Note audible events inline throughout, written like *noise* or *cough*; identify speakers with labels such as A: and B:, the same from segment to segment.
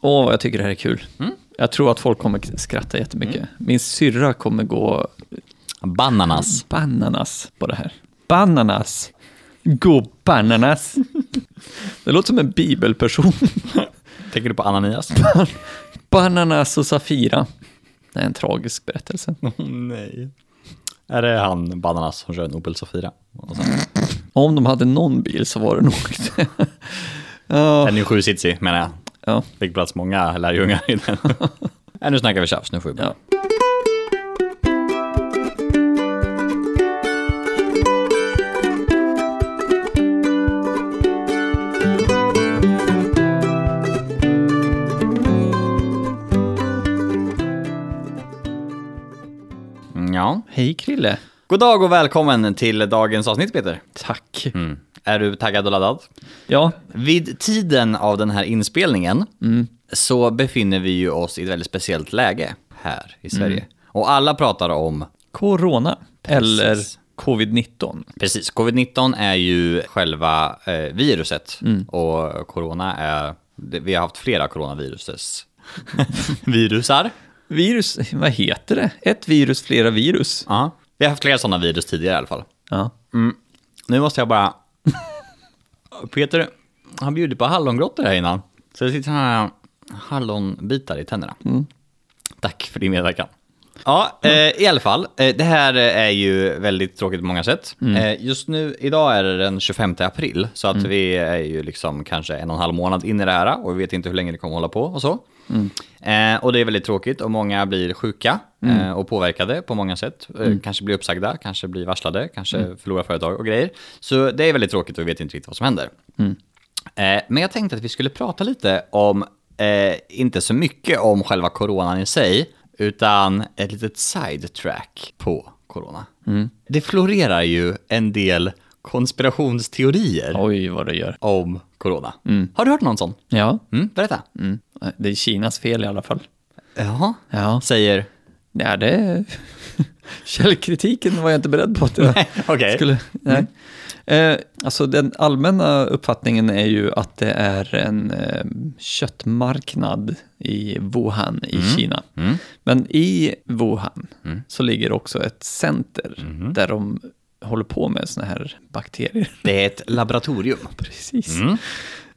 A: Åh, vad jag tycker det här är kul.
B: Mm.
A: Jag tror att folk kommer skratta jättemycket. Min syrra kommer gå
B: Bananas.
A: bananas på det här. Bananas! Gå *laughs* bananas! Det låter som en bibelperson.
B: Tänker du på Ananias?
A: Bananas och Safira. Det är en tragisk berättelse.
B: *laughs* Nej. Är det han, Bananas, som kör en Opel Safira? Och sen,
A: Om de hade någon bil så var det nog *laughs* det. Ja,
B: Den är ju sjusitsig, menar jag.
A: ja,
B: Fick plats många lärjungar i *laughs* den. Nej, nu snackar vi tjafs, nu får vi börja.
A: ja.
B: Mm, ja.
A: Hej Krille.
B: God dag och välkommen till dagens avsnitt, Peter.
A: Tack.
B: Mm. Är du taggad och laddad?
A: Ja,
B: Vid tiden av den här inspelningen så befinner vi ju oss i ett väldigt speciellt läge här i Sverige. Och alla pratar om,
A: corona. Eller
B: Precis.
A: covid-19.
B: precis, covid-19 är ju själva eh, viruset och corona är, det- vi har haft flera coronaviruses. *laughs* Virusar.
A: Virus, vad heter det? Ett virus, flera virus.
B: Ja. Vi har haft flera sådana virus tidigare i alla fall.
A: Ja.
B: Nu måste jag bara... Peter, han bjuder på hallongrottor här innan. Så det sitter här hallonbitar i tänderna. Tack för din medverkan. Ja, eh, i alla fall. Eh, det här är ju väldigt tråkigt på många sätt. Eh, just nu, idag är det den 25 april, så att vi är ju liksom kanske en och en halv månad in i det här och vi vet inte hur länge det kommer hålla på och så. Eh, och det är väldigt tråkigt och många blir sjuka eh, och påverkade på många sätt. Eh, Kanske blir uppsagda, kanske blir varslade, kanske förlorar företag och grejer. Så det är väldigt tråkigt och vi vet inte riktigt vad som händer. Eh, Men jag tänkte att vi skulle prata lite om, eh, inte så mycket om själva coronan i sig, utan ett litet sidetrack på corona. Det florerar ju en del konspirationsteorier
A: Oj, vad det gör.
B: om corona. Har du hört någon sån?
A: Ja,
B: Mm, berätta.
A: mm. det är Kinas fel i alla fall.
B: Jaha.
A: Ja,
B: Säger...
A: ja det är... *laughs* Källkritiken var jag inte beredd på. Att jag
B: Okej.
A: skulle... Nej. Eh, alltså den allmänna uppfattningen är ju att det är en eh, köttmarknad i Wuhan i Kina. Men i Wuhan så ligger också ett center där de håller på med såna här bakterier.
B: Det är ett laboratorium.
A: Precis.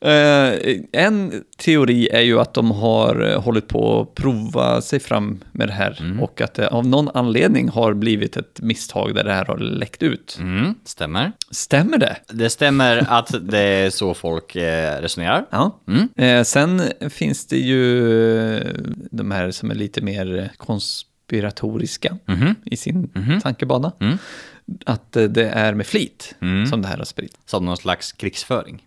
A: Eh, en teori är ju att de har eh, hållit på att prova sig fram med det här och att det av någon anledning har blivit ett misstag där det här har läckt ut.
B: Mm, stämmer.
A: Stämmer det?
B: Det stämmer att det är så folk eh, resonerar.
A: Ja.
B: Mm.
A: Eh, sen finns det ju eh, de här som är lite mer konspiratoriska
B: Mhm.
A: i sin tankebana. Att eh, det är med flit som det här har spridits.
B: Som någon slags krigsföring.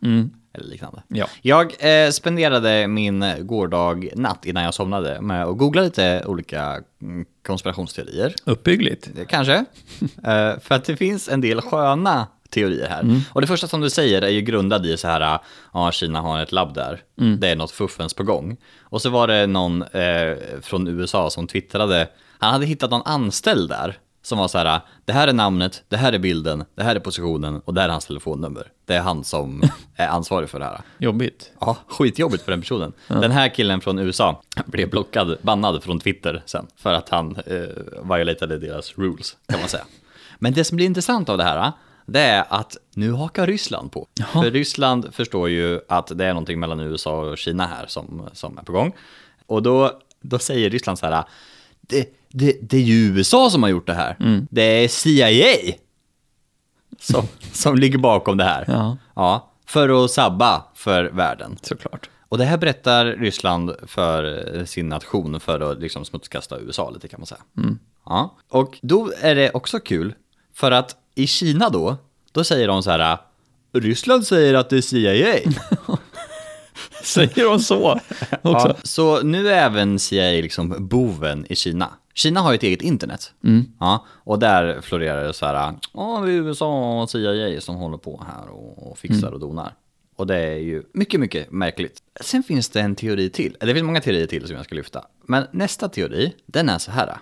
B: Eller liknande.
A: Ja.
B: Jag eh, spenderade min eh, gårdag natt innan jag somnade med att googla lite olika mm, konspirationsteorier.
A: Uppbyggligt.
B: Det Kanske. eh, för att det finns en del sköna teorier här. Och det första som du säger är ju grundad i så här, eh, ja Kina har ett labb där, det är något fuffens på gång. Och så var det någon eh, från USA som twittrade, han hade hittat någon anställd där som var så här, eh, det här är namnet, det här är bilden, det här är positionen och det här är hans telefonnummer. Det är han som är ansvarig för det här.
A: Jobbigt.
B: Ja, skitjobbigt för den personen. Den här killen från USA blev blockad, bannad från Twitter sen för att han eh, violatade deras rules, kan man säga. Men det som blir intressant av det här, eh, det är att nu hakar Ryssland på. För Ryssland förstår ju att det är någonting mellan USA och Kina här som, som är på gång. Och då, då säger Ryssland så här, "Eh, det, det, det är ju USA som har gjort det här. Det är CIA som, som ligger bakom det här.
A: Ja.
B: Ja, för att sabba för världen.
A: *laughs* Såklart.
B: Och det här berättar Ryssland för eh, sin nation för att liksom smutskasta USA lite kan man säga. Ja. Och då är det också kul, för att i Kina då, då säger de så här, Ryssland säger att det är CIA.
A: Säger de så också?
B: Ja, så nu är även CIA liksom boven i Kina. Kina har ju ett eget internet.
A: Mm.
B: Ja, och där florerar det så här, ja det är USA och CIA som håller på här och, och fixar
A: Mm.
B: och donar. Och det är ju mycket, mycket märkligt. Sen finns det en teori till, eller det finns många teorier till som jag ska lyfta. Men nästa teori, den
A: Mm.
B: är så här.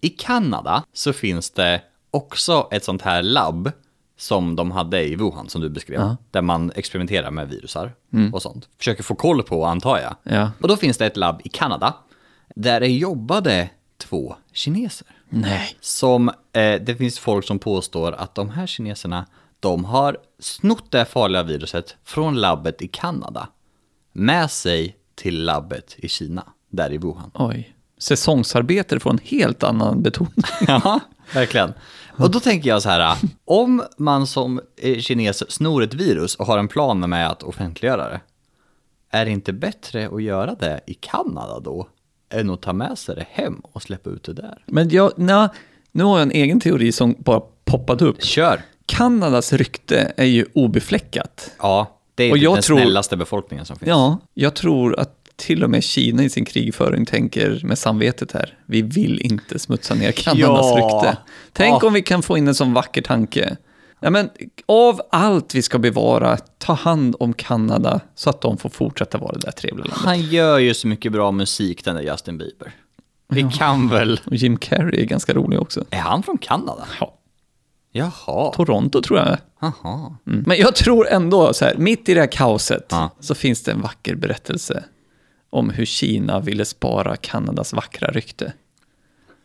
B: I Kanada så finns det också ett sånt här labb som de hade i Wuhan som du beskrev.
A: Ja. Mm.
B: Där man experimenterar med virusar och sånt. Försöker få koll på antar jag.
A: Ja.
B: Och då finns det ett labb i Kanada där det jobbade två kineser.
A: Nej.
B: Som eh, det finns folk som påstår att de här kineserna, de har snott det här farliga viruset från labbet i Kanada med sig till labbet i Kina, där i Wuhan.
A: Oj. Säsongsarbete får en helt annan betoning.
B: Ja, verkligen. Och då tänker jag så här, om man som eh, kines snor ett virus och har en plan med att offentliggöra det, är det inte bättre att göra det i Kanada då, än att ta med sig det hem och släppa ut det där?
A: Men jag, na, nu har jag en egen teori som bara poppat upp.
B: Kör!
A: Kanadas rykte är ju obefläckat.
B: Ja, det är
A: Och
B: typ
A: jag
B: den
A: tror-
B: snällaste befolkningen som finns.
A: Ja, jag tror att till och med Kina i sin krigföring tänker med samvetet här. Vi vill inte smutsa ner Kanadas
B: Ja.
A: rykte. Tänk
B: Ja.
A: om vi kan få in en sån vacker tanke. Ja, men, av allt vi ska bevara, ta hand om Kanada så att de får fortsätta vara det där trevliga landet.
B: Han gör ju så mycket bra musik den där Justin Bieber. Vi kan väl...
A: Och Jim Carrey är ganska rolig också.
B: Är han från Kanada?
A: Ja.
B: Jaha.
A: Toronto tror jag.
B: Jaha.
A: Mm. Men jag tror ändå, så här, mitt i det här kaoset,
B: Ja.
A: så finns det en vacker berättelse om hur Kina ville spara Kanadas vackra rykte.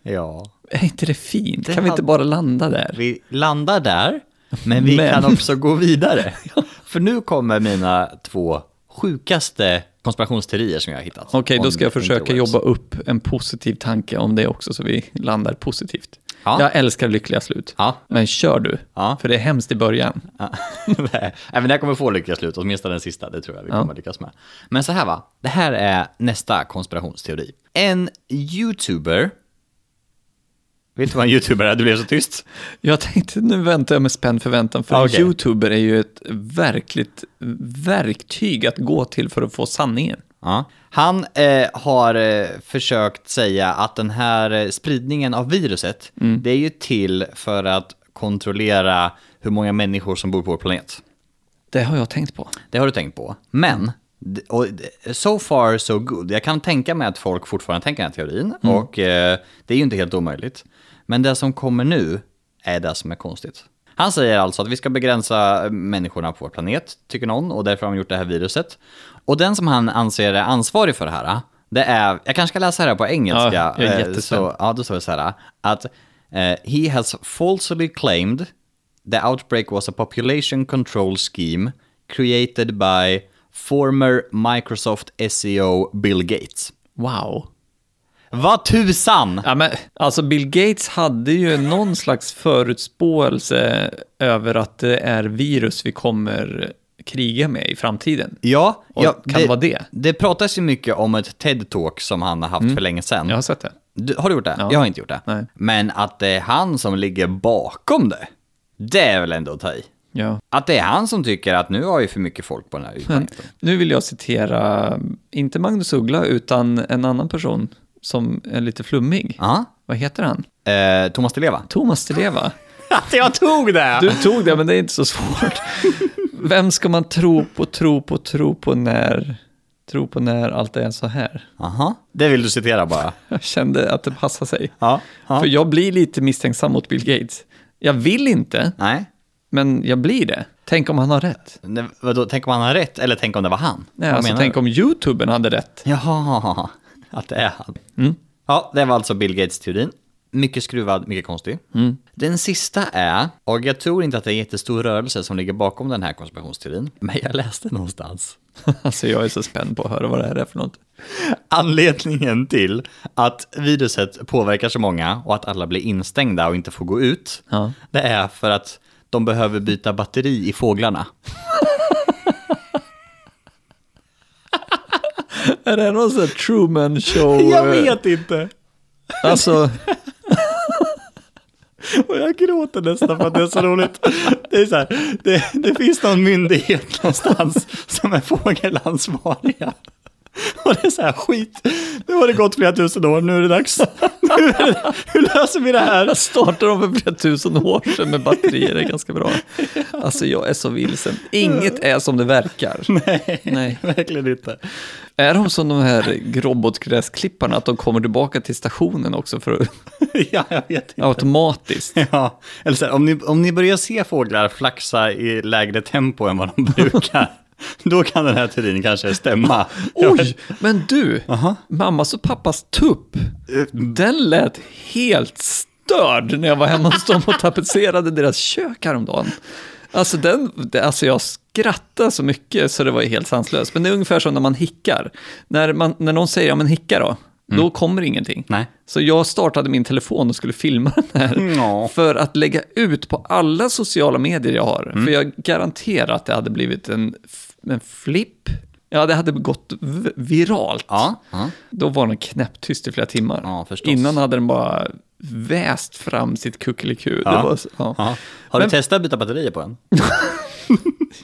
B: Ja.
A: Är inte det fint?
B: Det
A: kan vi inte
B: hade-
A: bara landa där?
B: Vi landar där, men vi
A: Men.
B: kan också gå vidare. *laughs* För nu kommer mina två sjukaste konspirationsteorier som jag har hittat.
A: Okej,
B: Om
A: då ska jag försöka
B: interwebs.
A: jobba upp en positiv tanke om det också, så vi landar positivt.
B: Ja.
A: Jag älskar lyckliga slut.
B: Ja. *laughs*
A: Men kör du,
B: Ja.
A: för det är hemskt i början.
B: Ja. Nej, men det här kommer få lyckas slut, åtminstone den sista, det tror jag vi kommer lyckas med. Men så här va, det här är nästa konspirationsteori. En youtuber, vet du vad en youtuber är? Du blev så tyst.
A: Jag tänkte, nu väntar jag med spänd förväntan, för
B: Ah, okej.
A: en youtuber är ju ett verkligt verktyg att gå till för att få sanningen.
B: Ja. Han eh, har eh, försökt säga att den här eh, spridningen av viruset, det är ju till för att kontrollera hur många människor som bor på vår planet.
A: Det har jag tänkt på.
B: Det har du tänkt på. Men, d- och, d- so far so good. Jag kan tänka mig att folk fortfarande tänker den här teorin
A: Mm.
B: och eh, det är ju inte helt omöjligt. Men det som kommer nu är det som är konstigt. Han säger alltså att vi ska begränsa eh, människorna på vår planet, tycker någon, och därför har man gjort det här viruset. Och den som han anser är ansvarig för det här, eh, det är, jag kanske ska läsa det här på engelska.
A: Ja, jag är
B: eh,
A: jättespänd.
B: så- Ja, då står det så här att eh, he has falsely claimed the outbreak was a population control scheme created by former Microsoft SEO Bill Gates.
A: Wow.
B: Vad tusan!
A: Ja, men, alltså Bill Gates hade ju någon slags förutspåelse över att det är virus vi kommer kriga med i framtiden.
B: Ja,
A: Och
B: ja
A: kan det vara det?
B: Det pratas ju mycket om ett TED-talk som han har haft för länge sedan.
A: Jag har sett det.
B: Du, har du gjort det? Jag har inte gjort det.
A: Nej.
B: Men att det är han som ligger bakom det, det är väl ändå att ta i.
A: Ja.
B: Att det är han som tycker att nu har ju för mycket folk på
A: *laughs*
B: den här ytan.
A: Men nu vill jag citera, inte Magnus Uggla, utan en annan person som är lite flummig.
B: Ja.
A: Vad heter han?
B: Eh, Thomas Di Leva.
A: Thomas Di Leva.
B: Att jag tog det!
A: Du tog det, men det är inte så *laughs* svårt. Vem ska man tro på, tro på, tro på när, tro på när allt är så här?
B: Aha. Det vill du citera bara.
A: Jag kände att det passade sig.
B: Ja.
A: För jag blir lite misstänksam mot Bill Gates. Jag vill inte,
B: Nej.
A: men jag blir det. Tänk om han har rätt.
B: Nej, Vadå, tänk om han har rätt, eller tänk om det var han?
A: Nej,
B: Vad
A: alltså,
B: menar
A: tänk
B: du?
A: om YouTuben hade rätt.
B: Jaha, att det är han.
A: Mm.
B: Ja, det var alltså Bill Gates-teorin. Mycket skruvad, mycket konstig.
A: Mm.
B: Den sista är, och jag tror inte att det är en jättestor rörelse som ligger bakom den här konspirationsteorin, men jag läste någonstans
A: *laughs* Alltså jag är så spänd på att höra vad det här är för något.
B: anledningen till att viruset påverkar så många och att alla blir instängda och inte får gå ut,
A: Ja.
B: det är för att de behöver byta batteri i fåglarna.
A: Är det någon sån här Truman *laughs* show? eh,
B: Jag vet inte!
A: Alltså,
B: Och jag gråter nästan för att det är så roligt. Det, är så här, det, det finns någon myndighet någonstans som är fågelansvariga. Och det är så här skit. Nu har det gått flera tusen år, nu är det dags. Nu Hur löser vi det här?
A: Jag startade dem för flera tusen år sedan med batterier, det är ganska *laughs* bra. Alltså jag är så vilsen. Inget är som det verkar.
B: Nej,
A: Nej.
B: verkligen inte.
A: Är de som de här robotgräsklipparna, att de kommer tillbaka till stationen också för att,
B: ja, jag vet inte.
A: automatiskt?
B: *laughs* Ja, eller så här, om, ni, om ni börjar se fåglar flaxa i lägre tempo än vad de *laughs* brukar, då kan den här teorin kanske stämma. Jag vet-
A: Oj, men du, mammas och pappas tupp,
B: Eh,
A: den lät helt störd när jag var hemma hos dem och tapetserade deras kök häromdagen. Alltså, den, det- alltså jag skrattade så mycket så det var ju helt sanslöst. Men det är ungefär som när man hickar. När, man, när någon säger, ja men hicka då, då kommer ingenting.
B: Mm. Nej. Mm,
A: Så jag startade min telefon och skulle filma den här
B: Ja.
A: för att lägga ut på alla sociala medier jag har. För jag garanterar att det hade blivit en, f- en flipp. Ja, det hade gått v- viralt.
B: Ja, ja.
A: Då var den knäpptyst i flera timmar.
B: Ja, förstås.
A: Innan hade den bara väst fram sitt kuckeliku.
B: Ja.
A: Det var, så- ja.
B: ja. Har du testat att byta batterier på den?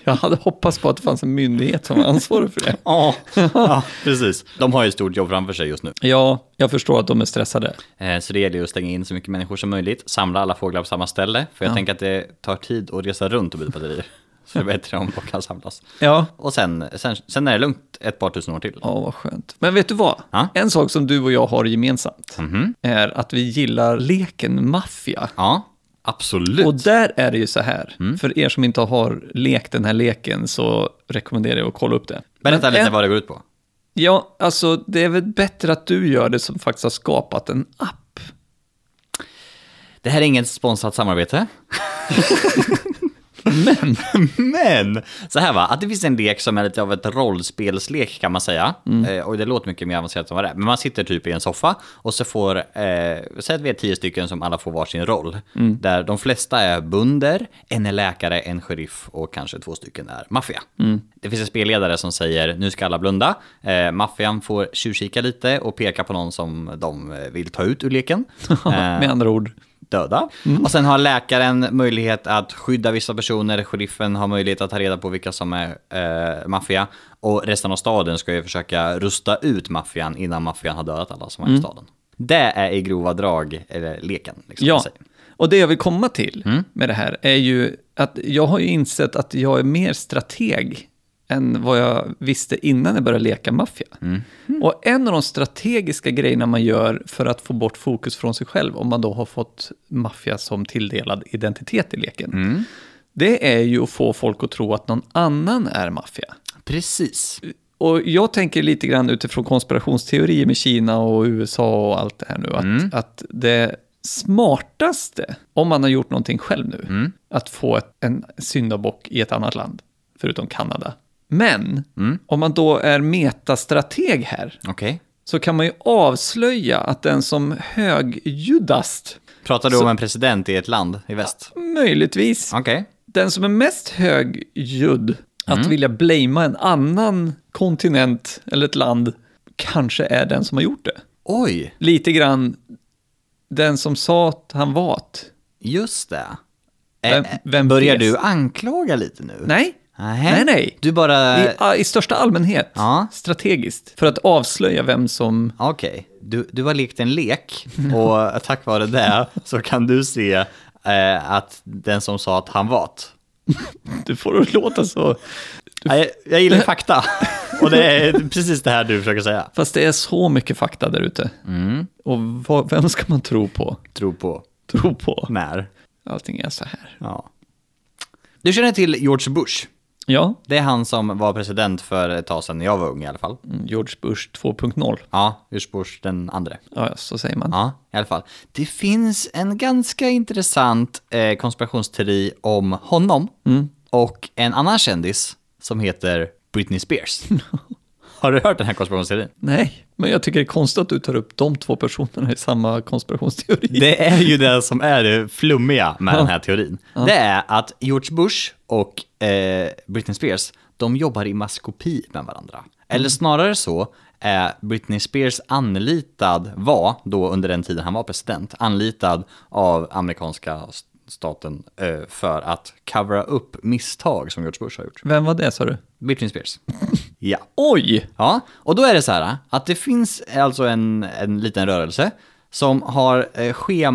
A: Jag hade hoppats på att det fanns en myndighet som var ansvarig för det.
B: *laughs* Ja. ja, precis. De har ju ett stort jobb framför sig just nu.
A: *laughs* Ja, jag förstår att de är stressade.
B: Eh, Så det gäller ju att stänga in så mycket människor som möjligt, samla alla fåglar på samma ställe, för jag tänker att det tar tid att resa runt och byta *laughs* batterier. Så det är bättre om de kan samlas.
A: Ja,
B: Och sen, sen, sen är det lugnt ett par tusen år till.
A: Ja, vad skönt. Men vet du vad?
B: Ja.
A: En sak som du och jag har gemensamt är att vi gillar leken maffia.
B: Ja, absolut.
A: Och där är det ju så här, för er som inte har lekt den här leken så rekommenderar jag att kolla upp det.
B: Berätta
A: Men
B: lite
A: en-
B: vad det går ut på.
A: Ja, alltså det är väl bättre att du gör det som faktiskt har skapat en app.
B: Det här är inget sponsrat samarbete. Men. Men! Så här va, att det finns en lek som är lite av ett rollspelslek kan man säga. Eh, och det låter mycket mer avancerat än vad det är. Men man sitter typ i en soffa och så får, eh, säg att vi är tio stycken som alla får varsin roll. Där de flesta är bunder, en är läkare, en sheriff och kanske två stycken är maffia. Det finns en spelledare som säger nu ska alla blunda. Eh, maffian får tjuvkika lite och peka på någon som de eh, vill ta ut ur leken. Eh,
A: Med andra ord,
B: döda.
A: Mm.
B: Och sen har läkaren möjlighet att skydda vissa personer, sheriffen har möjlighet att ta reda på vilka som är eh, maffia. Och resten av staden ska ju försöka rusta ut maffian innan maffian har dödat alla som är
A: Mm.
B: i staden. Det är i grova drag eller, leken. Liksom,
A: Ja,
B: säg.
A: och det jag vill komma till med det här är ju att jag har ju insett att jag är mer strateg än vad jag visste innan jag började leka maffia. Och en av de strategiska grejerna man gör för att få bort fokus från sig själv, om man då har fått maffia som tilldelad identitet i leken, det är ju att få folk att tro att någon annan är maffia.
B: Precis.
A: Och jag tänker lite grann utifrån konspirationsteorier med Kina och USA och allt det här nu, att, att det smartaste, om man har gjort någonting själv nu, att få ett, en syndabock i ett annat land, förutom Kanada. Men om man då är metastrateg här,
B: Okej.
A: så kan man ju avslöja att den som högljuddast,
B: Pratar du om en president i ett land i väst?
A: möjligtvis
B: Okej.
A: den som är mest högljudd att
B: Mm.
A: vilja blamea en annan kontinent eller ett land kanske är den som har gjort det.
B: Oj,
A: Lite grann den som sa att han var att.
B: just det.
A: Vem-
B: Eh,
A: vem
B: börjar
A: fes?
B: du anklaga lite nu?
A: Nej,
B: Nähä.
A: Nej, nej.
B: Du bara...
A: i, a- i största allmänhet,
B: Ja.
A: strategiskt, för att avslöja vem som...
B: Okej, du, du har lekt en lek och tack vare det så kan du se eh, att den som sa att han var att-
A: Du får det att låta så...
B: Nej, Jag gillar fakta och det är precis det här du försöker säga.
A: Fast det är så mycket fakta där ute.
B: Mm.
A: Och vad, vem ska man tro på?
B: Tro på
A: Tro på?
B: när.
A: Allting är så här.
B: Ja. Du känner till George Bush?
A: Ja,
B: Det är han som var president för ett tag sedan när jag var ung i alla fall.
A: George Bush 2.0.
B: Ja, George Bush den andra.
A: Ja, så säger man.
B: Ja, i alla fall. Det finns en ganska intressant eh, konspirationsteori om honom och en annan kändis som heter Britney Spears. Har du hört den här konspirationsteorin?
A: Nej, men jag tycker det är konstigt att du tar upp de två personerna i samma konspirationsteori.
B: Det är ju det som är det flummiga med den här teorin. Det är att George Bush och eh, Britney Spears, de jobbar i maskopi med varandra. Eller snarare så, eh, Britney Spears anlitad var, då under den tiden han var president, anlitad av amerikanska s- staten eh, för att covera upp misstag som George Bush har gjort.
A: Vem var det sa du?
B: Britney Spears. ja.
A: Oj!
B: Ja, och då är det så här att det finns alltså en, en liten rörelse som har eh,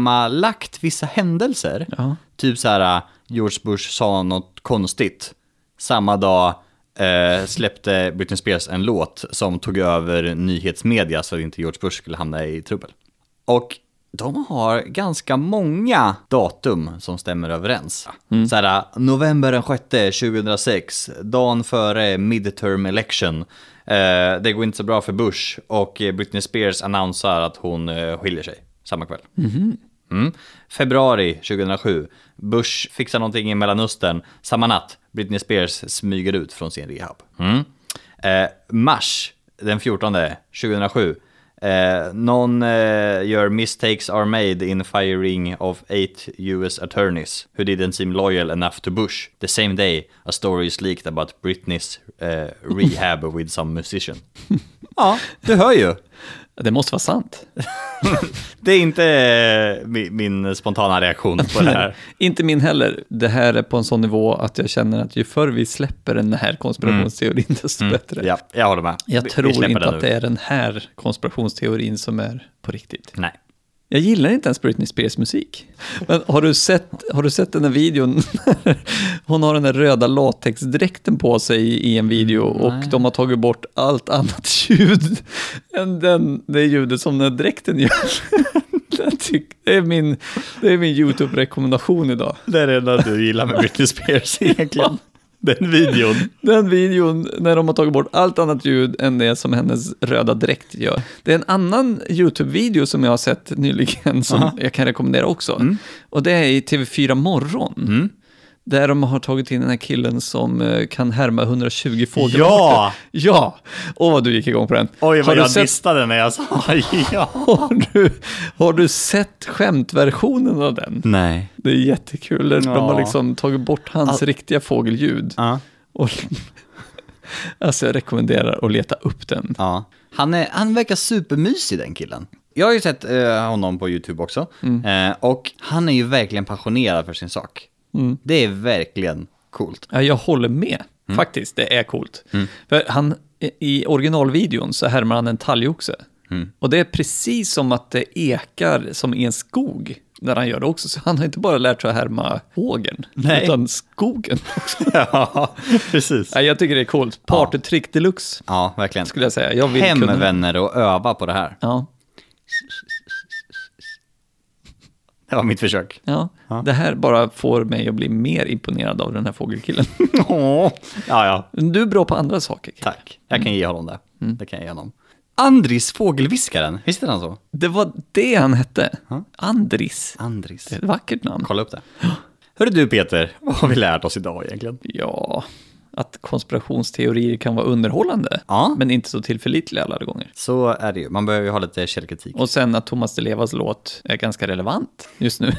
B: schemalagt vissa händelser.
A: Ja.
B: Typ så här, George Bush sa något konstigt. Samma dag eh, släppte Britney Spears en låt som tog över nyhetsmedia så att inte George Bush skulle hamna i trubbel. Och de har ganska många datum som stämmer överens. Mm. Så här, november den 6 2006, dagen före midterm election. Eh, det går inte så bra för Bush och eh, Britney Spears annonserar att hon eh, skiljer sig samma kväll. Mm. Februari 2007. Bush fixar någonting i Mellanöstern. Samma natt. Britney Spears smyger ut från sin rehab. Mm. Eh, mars den 14 2007. Eh, någon eh, gör mistakes are made in firing of eight US attorneys who didn't seem loyal enough to Bush. The same day a story is leaked about Britneys eh,
A: *laughs*
B: rehab with some musician. ja, du hör ju.
A: Det måste vara sant.
B: Det är inte eh, mi- min spontana reaktion på
A: *laughs*
B: det här.
A: Inte min heller. Det här är på en sån nivå att jag känner att ju förr vi släpper den här konspirationsteorin, desto bättre.
B: Mm. Ja, jag håller med.
A: Jag
B: Vi- vi
A: tror
B: släpper
A: inte
B: den
A: att
B: nu.
A: det är den här konspirationsteorin som är på riktigt.
B: Nej.
A: Jag gillar inte ens Britney Spears musik. Men har du sett, har du sett den här videon? Hon har den där röda latexdräkten på sig i en video och de har tagit bort allt annat ljud än den, det ljudet som den här dräkten gör. *laughs* Jag tyck- Det är min, det är min YouTube-rekommendation idag.
B: Det är det enda du gillar med
A: *laughs*
B: Britney Spears egentligen. Den videon.
A: Den videon när de har tagit bort allt annat ljud än det som hennes röda dräkt gör. Det är en annan YouTube-video som jag har sett nyligen som jag kan rekommendera också.
B: Mm.
A: Och det är i TV4 Morgon. Där de har tagit in den här killen som eh, kan härma 120 fågelarter.
B: Ja!
A: *laughs* Ja! Åh, vad du gick igång på den.
B: Oj,
A: har,
B: vad
A: du
B: jag
A: sett,
B: distade när jag sa *laughs* ja.
A: *laughs* har, du, har du sett skämtversionen av den?
B: Nej.
A: Det är jättekul. De har
B: Ja.
A: liksom tagit bort hans riktiga fågelljud.
B: Ja.
A: Och, alltså jag rekommenderar att leta upp den.
B: ja. Han, är, han verkar supermysig den killen. Jag har ju sett eh, honom på YouTube också.
A: Mm.
B: Eh, och han är ju verkligen passionerad för sin sak.
A: Mm.
B: Det är verkligen coolt.
A: Ja, jag håller med, faktiskt. Det är coolt. För han, I originalvideon så härmar han en talgoxe. Och det är precis som att det ekar som i en skog när han gör det också. Så han har inte bara lärt sig att härma fågeln,
B: Nej.
A: utan skogen också.
B: *laughs* ja, precis.
A: Ja, jag tycker det är coolt. Partytrick deluxe,
B: Ja, verkligen.
A: skulle jag säga. Jag vill
B: Hem
A: kunna...
B: vänner och öva på det här.
A: Ja,
B: Det var mitt *laughs* försök.
A: ja. Det här bara får mig att bli mer imponerad av den här fågelkillen.
B: Åh. ja, ja.
A: Du är bra på andra saker. Kid.
B: Tack. Jag kan ge honom det.
A: Mm.
B: Det kan jag ge honom. Andris fågelviskaren, visst är han så?
A: Det var det han hette. Andris.
B: Andris.
A: Det är ett vackert namn.
B: Kolla upp det. Hörru du Peter, vad har vi lärt oss idag egentligen?
A: Ja, att konspirationsteorier kan vara underhållande,
B: Ja.
A: men inte så tillförlitliga alla gånger.
B: Så är det ju, man behöver ju ha lite källkritik.
A: Och sen att Thomas Di Levas låt är ganska relevant just nu.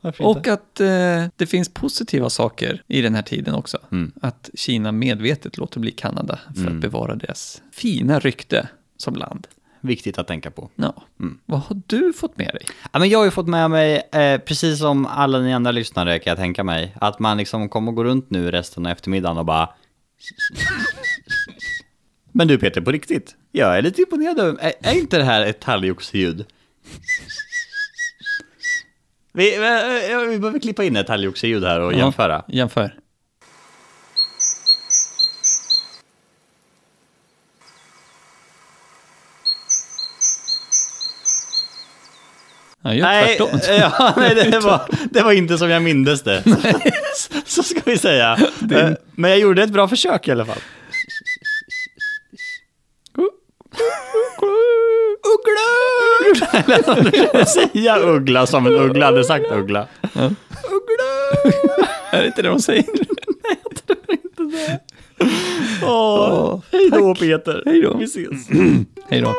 B: Varför
A: Och att eh, det finns positiva saker i den här tiden också.
B: Mm.
A: Att Kina medvetet låter bli Kanada för att bevara deras fina rykte som land.
B: Viktigt att tänka på.
A: Ja.
B: Mm.
A: Vad har du fått med dig?
B: Ja, men jag har ju fått med mig, eh, precis som alla ni andra lyssnare kan jag tänka mig, att man liksom kommer gå runt nu resten av eftermiddagen och bara... *laughs* Men du Peter, på riktigt, jag är lite imponerad över, är, är inte det här ett talgoxeljud? *laughs* Vi, eh, eh, vi behöver klippa in ett talgoxeljud här och jämföra.
A: Ja, jämför. Han gör
B: Nej,
A: tvärtom.
B: *laughs* ja, nej det, var, det var inte som jag mindes det. Så, *laughs* så ska vi säga. Eh, Men jag gjorde ett bra försök i alla fall. Uggla! Eller vad du skulle säga uggla som en uggla hade sagt uggla. Uggla!
A: Är det inte det de säger?
B: Åh, hej då Peter.
A: Hej då.
B: Vi ses.
A: Hej då.